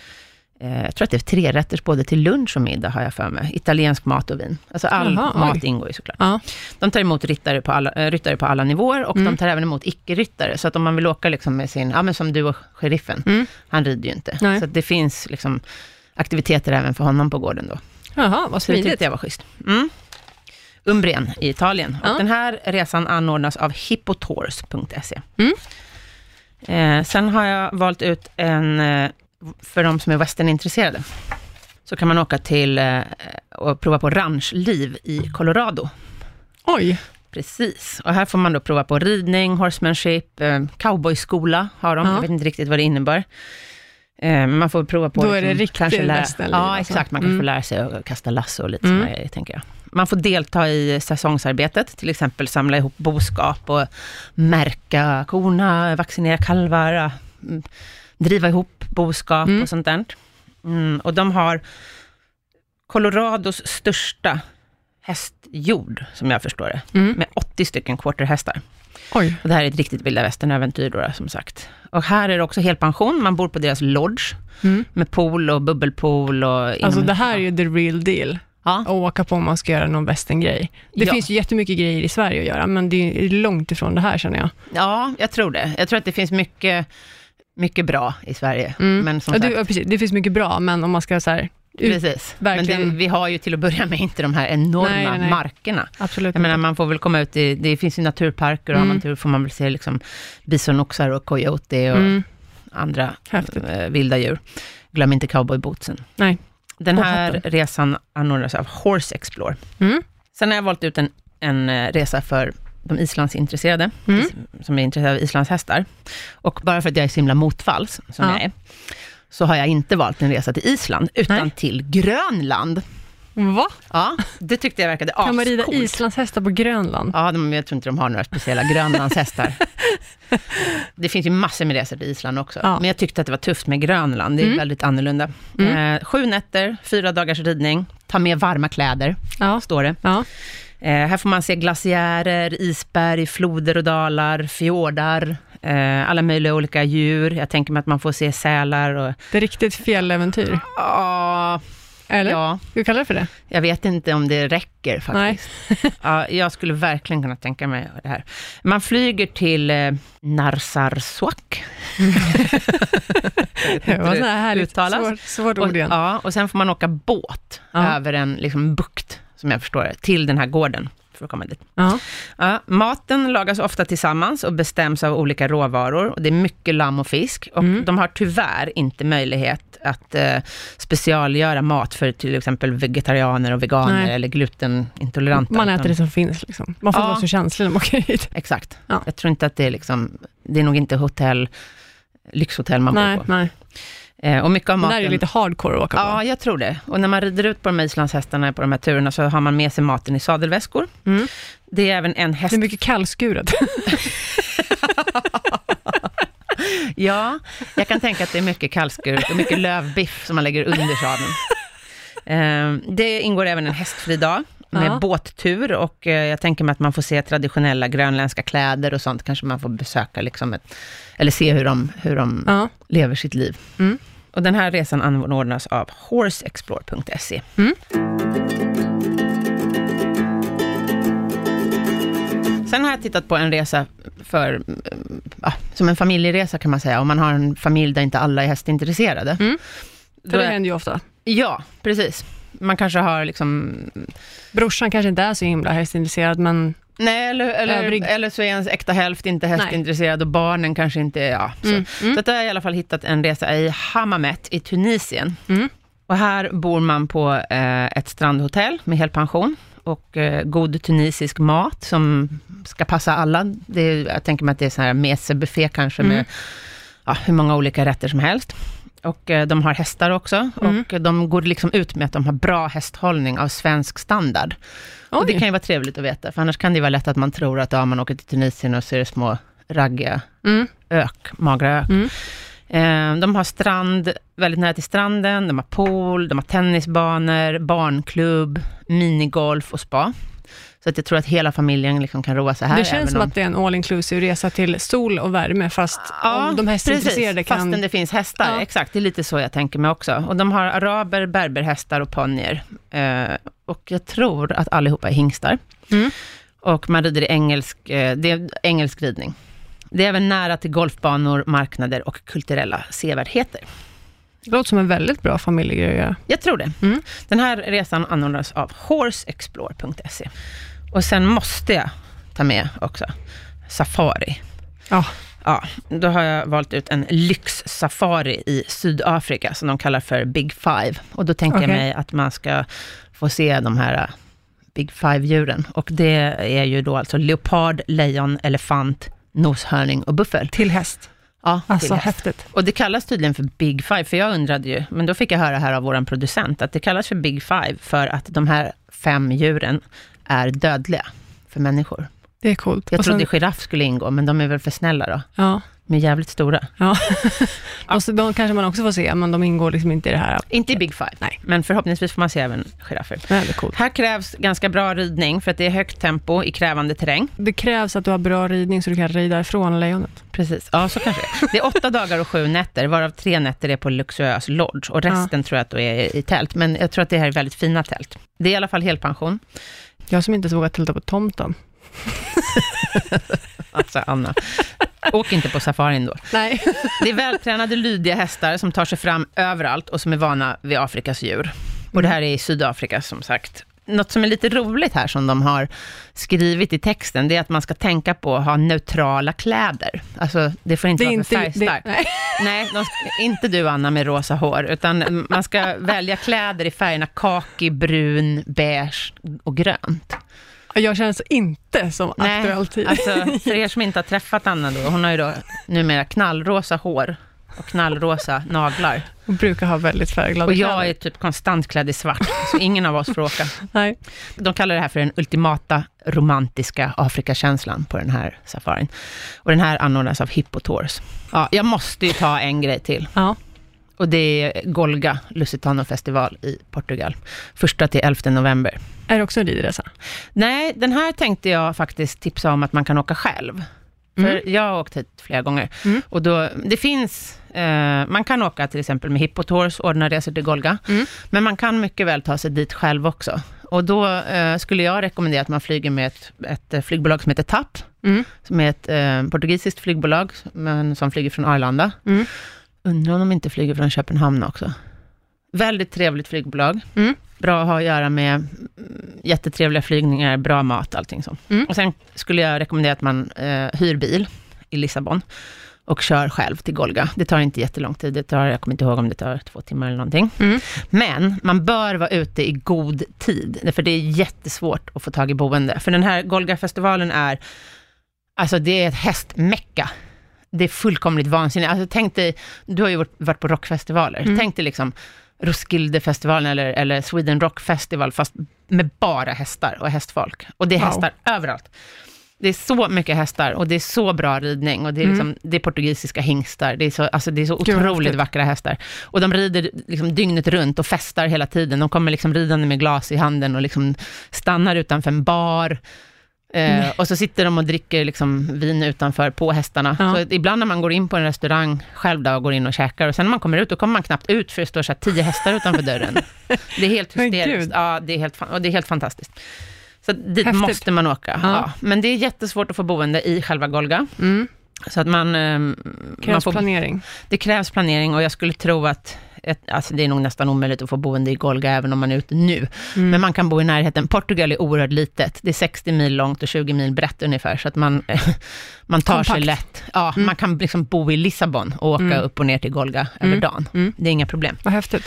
eh, jag tror att det är tre rätter både till lunch och middag, har jag för mig. Italiensk mat och vin. Alltså all
Jaha, oj.
mat ingår ju såklart.
Ja. Mm.
De tar emot ryttare på alla, eh, ryttare på alla nivåer och de tar även emot icke-ryttare. Så att om man vill åka liksom med sin, ja men som du och sheriffen,
Mm.
han rider ju inte.
Nej.
Så att det finns liksom aktiviteter även för honom på gården då.
Jaha, vad
Så det
smidigt.
tyckte jag var schysst. Mm. Umbrien i Italien.
Ja.
Och den här resan anordnas av hippotours.se.
Mm.
Eh, sen har jag valt ut en, eh, för de som är westernintresserade, så kan man åka till eh, och prova på ranchliv i Colorado.
Oj,
Precis, och här får man då prova på ridning, horsemanship, eh, cowboyskola har de,
Ja.
jag vet inte riktigt vad det innebär. Eh, men man får prova på... liksom
Då är det riktigt
kanske lära-
västernliv
Ja,
alltså.
exakt, man kan
Mm.
få lära sig att kasta lasso och lite
Mm.
mm. sådana grejer, tänker jag. Man får delta i säsongsarbetet, till exempel samla ihop boskap och märka korna, vaccinera kalvar, ja, mm, driva ihop boskap
Mm.
och sånt där. Mm, och de har Colorados största hästjord, som jag förstår det
mm.
med 80 stycken quarterhästar.
oj,
Och det här är ett riktigt vilda västern-äventyr då, som sagt. Och här är det också helpension, man bor på deras lodge
mm.
med pool och bubbelpool och...
Alltså
inom-
det här är ju the real deal,
Ja,
att åka på om man ska göra någon västerngrej. Det
Ja.
finns ju jättemycket grejer i Sverige att göra, men det är ju långt ifrån det här känner jag.
ja, jag tror det. Jag tror att det finns mycket, mycket bra i Sverige.
Mm.
Men som
ja,
sagt,
du, ja, precis. Det finns mycket bra, men om man ska så här, ut-
precis. Men
Mm. verkligen.
det, vi har ju till att börja med inte de här enorma
Nej, nej, nej.
markerna.
absolut
Jag menar,
inte.
man får väl komma ut i... Det finns ju naturparker och har
Mm.
man tur får man väl se liksom bisonoxar och coyote och
Mm.
andra
Häftigt.
eh, vilda djur. Glöm inte cowboybootsen.
Nej.
Den
Och
här
hatten.
resan anordnas av Horse Explore.
Mm.
Sen har jag valt ut en, en eh, resa för de islandsintresserade,
Mm.
som är intresserade av islandshästar. Och bara för att jag är så himla motfalls, som
Ja.
jag är, så har jag inte valt en resa till Island, utan
Nej.
till Grönland.
Va?
Ja, det tyckte jag verkade
Kan man rida
ascoolt.
islandshästar på Grönland?
Ja, de, jag tror inte de har några speciella Grönlandshästar. det finns ju massor med resor till Island också.
Ja.
Men jag tyckte att det var tufft med Grönland, det är
Mm.
väldigt annorlunda. Eh, sju nätter, fyra dagars ridning, ta med varma kläder,
Ja.
står det.
ja.
Eh, här får man se glaciärer, isberg, floder och dalar, fjordar, eh, alla möjliga olika djur. Jag tänker mig att man får se sälar och...
Det är riktigt fjälläventyr.
Ah,
Eller?
ja,
Ska vi kalla det för det?
jag vet inte om det räcker
Nej.
faktiskt. Ja, jag skulle verkligen kunna tänka mig det här. Man flyger till eh, Narsarsuaq. Jag vet
Det
inte
var
hur
sådär härligt
uttalas.
svårt, svårt
Och,
ord igen.
ja, och sen får man åka båt
Ja.
över en liksom, bukt, som jag förstår det, till den här gården för att komma dit.
Ja.
Ja, maten lagas ofta tillsammans och bestäms av olika råvaror. Och det är mycket lamm och fisk. Och
Mm.
de har tyvärr inte möjlighet att eh, specialgöra mat för till exempel vegetarianer och veganer
Nej.
eller glutenintoleranta.
Man
utan-
äter det som finns liksom. Man får inte
Ja.
vara så känslig när man åker hit.
Exakt.
Ja.
Jag tror inte att det är liksom, det är nog inte hotell, lyxhotell man
Nej,
bor på.
nej.
Eh, och mycket av
Det
maten...
där är ju lite hardcore att åka
Ja, jag tror det. Och när man rider ut på de här islandshästarna på de här turerna, så har man med sig maten i sadelväskor.
på. Mm.
Det är även en häst...
Det är mycket kallskuret.
Ja, jag kan tänka att det är mycket kallskur och mycket lövbiff som man lägger under sadeln. Eh, det ingår även en hästfri dag med
Ja.
båttur och eh, jag tänker mig att man får se traditionella grönländska kläder och sånt. Kanske man får besöka liksom ett, eller se hur de, hur de
ja.
lever sitt liv.
Mm.
Och den här resan anordnas av horseexplore.se.
Mm.
Sen har jag tittat på en resa för, eh, ja, som en familjeresa kan man säga, om man har en familj där inte alla är hästintresserade.
Mm.
Då
För det
är,
händer ju ofta.
ja, precis. Man kanske har liksom,
Brorsan kanske inte är så himla hästintresserad, men
nej eller,
Övrig.
eller, eller så är ens äkta hälft inte hästintresserad och barnen kanske inte är, ja. Så.
Mm, mm.
Så att då har jag i alla fall hittat en resa i Hammamet i Tunisien.
Mm.
Och här bor man på eh, ett strandhotell med helpension och eh, god tunisisk mat som ska passa alla. Det är, jag tänker mig att det är så här mesebuffé kanske
Mm.
med ja, hur många olika rätter som helst. Och eh, de har hästar också
Mm.
och de går liksom ut med att de har bra hästhållning av svensk standard. Och det
oj.
kan ju vara trevligt att veta, för annars kan det ju vara lätt att man tror att ja, man åker till Tunisien och så är det små raggiga
Mm.
ök, magra ök.
Mm.
Eh, De har strand, väldigt nära till stranden, de har pool, de har tennisbanor, barnklubb, minigolf och spa. Så att jag tror att hela familjen liksom kan roa sig här.
Det känns
även
som
om-
att det är en all inclusive resa till sol och värme, fast om de hästintresserade
precis.
kan...
Fastän det finns hästar,
Ja.
exakt. Det är lite så jag tänker mig också. Och de har araber, berberhästar och ponnyer. Eh, och jag tror att allihopa är hingstar.
Mm.
Och man rider i engelsk, eh, det är engelsk ridning. Det är även nära till golfbanor, marknader och kulturella sevärdheter.
Det låter som en väldigt bra familjegrej att göra.
Jag tror det.
Mm.
Den här resan anordnas av horseexplore.se. Och sen måste jag ta med också safari.
Ja.
Ja, då har jag valt ut en lyxsafari i Sydafrika, som de kallar för Big Five. Och då tänker jag
Okej.
mig att man ska få se de här eh, Big Five-djuren. Och det är ju då alltså leopard, lejon, elefant, noshörning och buffel.
Till häst.
Ja, till
Alltså
häst.
häftigt.
Och det kallas tydligen för Big Five, för jag undrade ju, men då fick jag höra här av vår producent, att det kallas för Big Five för att de här fem djuren är dödliga för människor.
Det är coolt.
Jag
Och sen-
trodde giraff skulle ingå, men de är väl för snälla då?
Ja.
De är jävligt stora.
Och så, de kanske man också får se, men de ingår liksom inte i det här.
Inte i Big Five,
Nej.
Typ. men förhoppningsvis får man se även giraffer.
Väldigt coolt.
Här krävs ganska bra ridning, för att det är högt tempo i krävande terräng.
Det krävs att du har bra ridning så du kan rida ifrån lejonet.
Precis, ja så kanske det är. Det är åtta dagar och sju nätter, varav tre nätter är på luxuös lodge och resten tror jag att då är i tält. Men jag tror att det här är väldigt fina tält. Det är i alla fall helpension.
Jag som inte ens vågar tälta på tomten.
Alltså Anna, åk inte på safarin då.
Nej.
Det är vältränade, lydiga hästar som tar sig fram överallt och som är vana vid Afrikas djur. Och det här är i Sydafrika som sagt. Något som är lite roligt här som de har skrivit i texten, det är att man ska tänka på att ha neutrala kläder. Alltså det får inte
Det är
vara
inte...
för
Det,
färgstarkt.
nej.
Nej, de, inte du Anna med rosa hår, utan man ska välja kläder i färgerna kaki, brun, beige och grönt.
Jag känns inte som aktuellt i-
alltså för er som inte har träffat Anna då, hon har ju då numera knallrosa hår och knallrosa naglar.
och brukar ha väldigt färgglada
Och jag
kläder.
är typ konstant klädd i svart, så ingen av oss får åka.
Nej.
De kallar det här för den ultimata romantiska Afrikakänslan på den här safarin. Och den här anordnas av Hippotours. Ja, jag måste ju ta en grej till.
Ja.
Och det är Golga Lusitano-festival i Portugal. Första till 11 november.
Är det också en ridresa?
Nej, den här tänkte jag faktiskt tipsa om att man kan åka själv.
Mm.
För jag har åkt hit flera gånger.
Mm.
Och då, det finns, eh, man kan åka till exempel med Hippotours, ordna resor till Golga.
Mm.
Men man kan mycket väl ta sig dit själv också. Och då eh, skulle jag rekommendera att man flyger med ett, ett eh, flygbolag som heter TAP,
Mm.
som är ett eh, portugisiskt flygbolag, men som flyger från Arlanda.
Mm.
Undrar om de inte flyger från Köpenhamn också. Väldigt trevligt flygbolag.
Mm.
Bra att ha att göra med, mm, jättetrevliga flygningar, bra mat, allting sånt.
Mm.
Och sen skulle jag rekommendera att man eh, hyr bil i Lissabon och kör själv till Golga. Det tar inte jättelång tid, det tar, jag kommer inte ihåg om det tar två timmar eller någonting.
Mm.
Men man bör vara ute i god tid, för det är jättesvårt att få tag i boende. För den här Golga-festivalen är, alltså det är ett hästmecka. Det är fullkomligt vansinnigt. Alltså tänk dig, du har ju varit- varit på rockfestivaler.
Mm.
Tänk dig liksom Roskildefestivalen eller, eller Sweden Rock Festival, fast med bara hästar och hästfolk. Och det är
Wow.
hästar överallt. Det är så mycket hästar och det är så bra ridning och det är, liksom, det är portugisiska hingstar. Det är så, alltså det är så
Mm. Gud, vad
otroligt
häftigt.
vackra hästar. Och de rider liksom dygnet runt och festar hela tiden. De kommer liksom ridande med glas i handen och liksom stannar utanför en bar.
Mm.
Eh, och så sitter de och dricker liksom vin utanför på hästarna.
Ja.
Så att ibland när man går in på en restaurang själv då och går in och käkar och sen när man kommer ut, då kommer man knappt ut för det står så här tio hästar utanför dörren. Det är helt
Men
hysteriskt.
gud.
Ja, det är helt, fan- och det är helt fantastiskt. Så att dit
Häftigt.
måste man åka.
Ja.
Ja. Men det är jättesvårt att få boende i själva Golga.
Mm.
Så att man, ehm, man
Krävs
får,
planering.
det krävs planering och jag skulle tro att ett, alltså det är nog nästan omöjligt att få boende i Golga, även om man är ute nu.
Mm.
Men man kan bo i närheten. Portugal är oerhört litet. Det är 60 mil långt och 20 mil brett ungefär, så att man, man tar sig
Kompakt.
lätt. Ja,
Mm.
Man kan liksom bo i Lissabon och åka
Mm.
upp och ner till Golga
Mm.
över dagen.
Mm.
Det är inga problem.
Vad häftigt.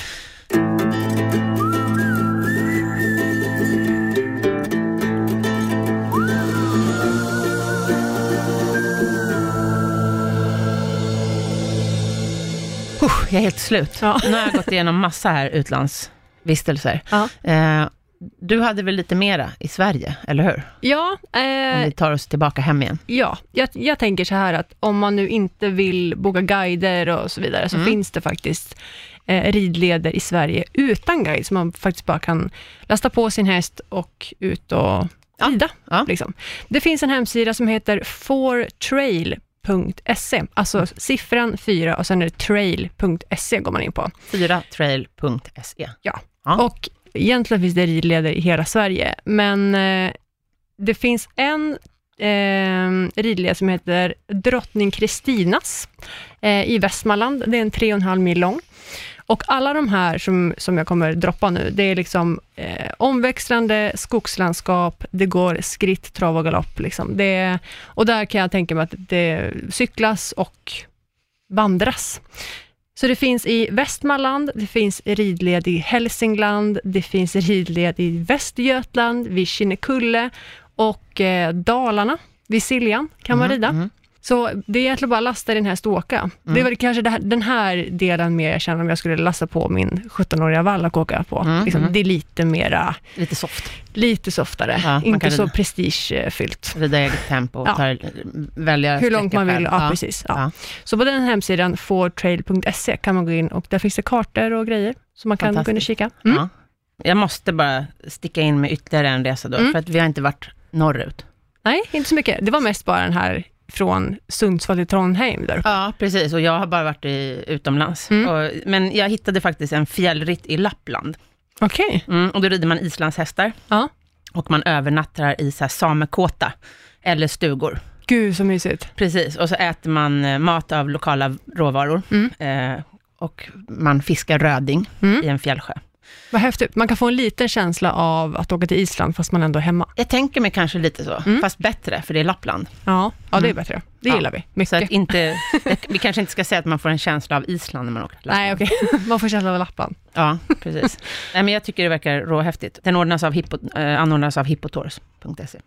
Puh, jag är helt slut.
Ja.
Nu har jag gått igenom massa här utlandsvistelser.
Ja.
Eh, du hade väl lite mera i Sverige, eller hur?
Ja,
Om
eh,
vi tar oss tillbaka hem igen.
ja. Jag, jag tänker så här att om man nu inte vill boka guider och så vidare, så
Mm.
finns det faktiskt eh, ridleder i Sverige utan guide, som man faktiskt bara kan lasta på sin häst och ut och
Ja.
rida.
Ja.
Liksom. Det finns en hemsida som heter fortrail.se, alltså siffran 4 och sen är det trail.se går man in på.
4trail.se. Ja.
Och egentligen finns det ridleder i hela Sverige, men eh, det finns en eh, ridled som heter Drottning Kristinas eh, i Västmanland. Det är en 3,5 mil lång. Och alla de här som, som jag kommer droppa nu, det är liksom eh, omväxlande skogslandskap, det går skritt, trav och galopp. Liksom. Det är, och där kan jag tänka mig att det cyklas och vandras. Så det finns i Västmanland, det finns ridled i Hälsingland, det finns ridled i Västergötland, vid Kinnekulle och eh, Dalarna, vid Siljan kan man
Mm,
rida.
mm.
Så det är egentligen bara att lasta i den här ståka. Det är väl kanske det här, den här delen mer jag känner om jag skulle lasta på min 17-åriga vall och åka på.
Mm,
liksom,
mm.
Det är lite mera,
Lite soft.
lite softare,
Ja, man
inte
kan
så
rida.
prestigefyllt.
Rida i eget tempo.
Ja.
Ja. Tar, välja
Hur långt
Mm, sträcka
man vill,
själv.
ja, precis. Ja.
Ja.
Så på den hemsidan, fortrail.se, kan man gå in och där finns det kartor och grejer, så man kan gå in och
Fantastiskt.
kika. Mm.
Ja. Jag måste bara sticka in med ytterligare en resa då,
Mm.
för att vi har inte varit norrut.
Nej, inte så mycket. Det var mest bara den här från Sundsvall till Trondheim där uppe.
Ja, precis. Och jag har bara varit i, utomlands.
Mm.
Och, men jag hittade faktiskt en fjällritt i Lappland.
Okej.
Mm, och då rider man islandshästar.
Ja.
Och man övernattar i så här samekåta, eller stugor.
Gud, så mysigt.
Precis, och så äter man eh, mat av lokala råvaror.
Mm.
Eh, och man fiskar röding
Mm.
i en fjällsjö.
Vad häftigt. Man kan få en liten känsla av att åka till Island, fast man ändå är hemma.
Jag tänker mig kanske lite så,
Mm.
fast bättre, för det är Lappland.
Ja, ja det är
Mm.
bättre. Det
Ja.
gillar vi.
Så
Mycket.
att inte, vi kanske inte ska säga att man får en känsla av Island när man åker till Lappland.
Nej, okej. Man får känsla av Lappland.
Ja, precis. Nej, men jag tycker det verkar råhäftigt. Den ordnas av hippo, eh, anordnas av hippotors.se.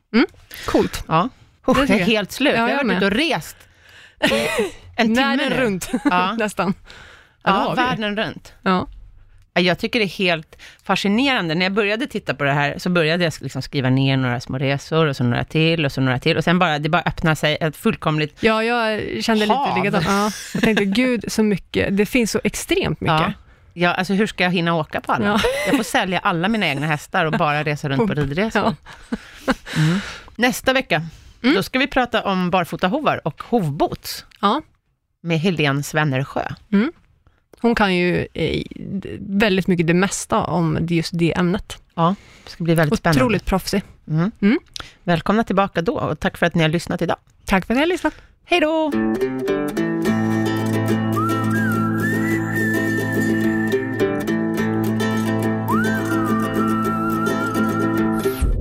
Coolt.
E. Ja. Oh,
Det
jag
tycker
är
jag.
helt slut.
Ja,
jag
jag
har
med.
varit ute och rest i en timme
Världen
nu.
runt,
Ja,
nästan. det
ja
har vi.
världen runt.
Ja.
Ja, Jag tycker det är helt fascinerande. När jag började titta på det här, så började jag liksom skriva ner några små resor, och så några till, och så några till. Och sen bara, det bara öppnar sig ett fullkomligt...
ja, jag kände
Hav.
lite likadant. Ja, jag tänkte, gud så mycket. Det finns så extremt
Ja,
mycket.
ja, alltså hur ska jag hinna åka på alla?
Ja.
Jag får sälja alla mina egna hästar och bara resa runt på ridresor.
Ja.
Mm. Nästa vecka,
Mm.
då ska vi prata om barfotahovar och hovbots
Ja.
med Helene Svennersjö.
Hon kan ju eh, d- väldigt mycket det mesta om just det ämnet.
Det ska bli väldigt spännande.
Otroligt proffsig.
Mm.
Mm.
Välkomna tillbaka då och tack för att ni har lyssnat idag.
Tack för att ni har lyssnat.
Hej då!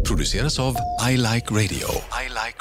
produceras av I Like Radio. I like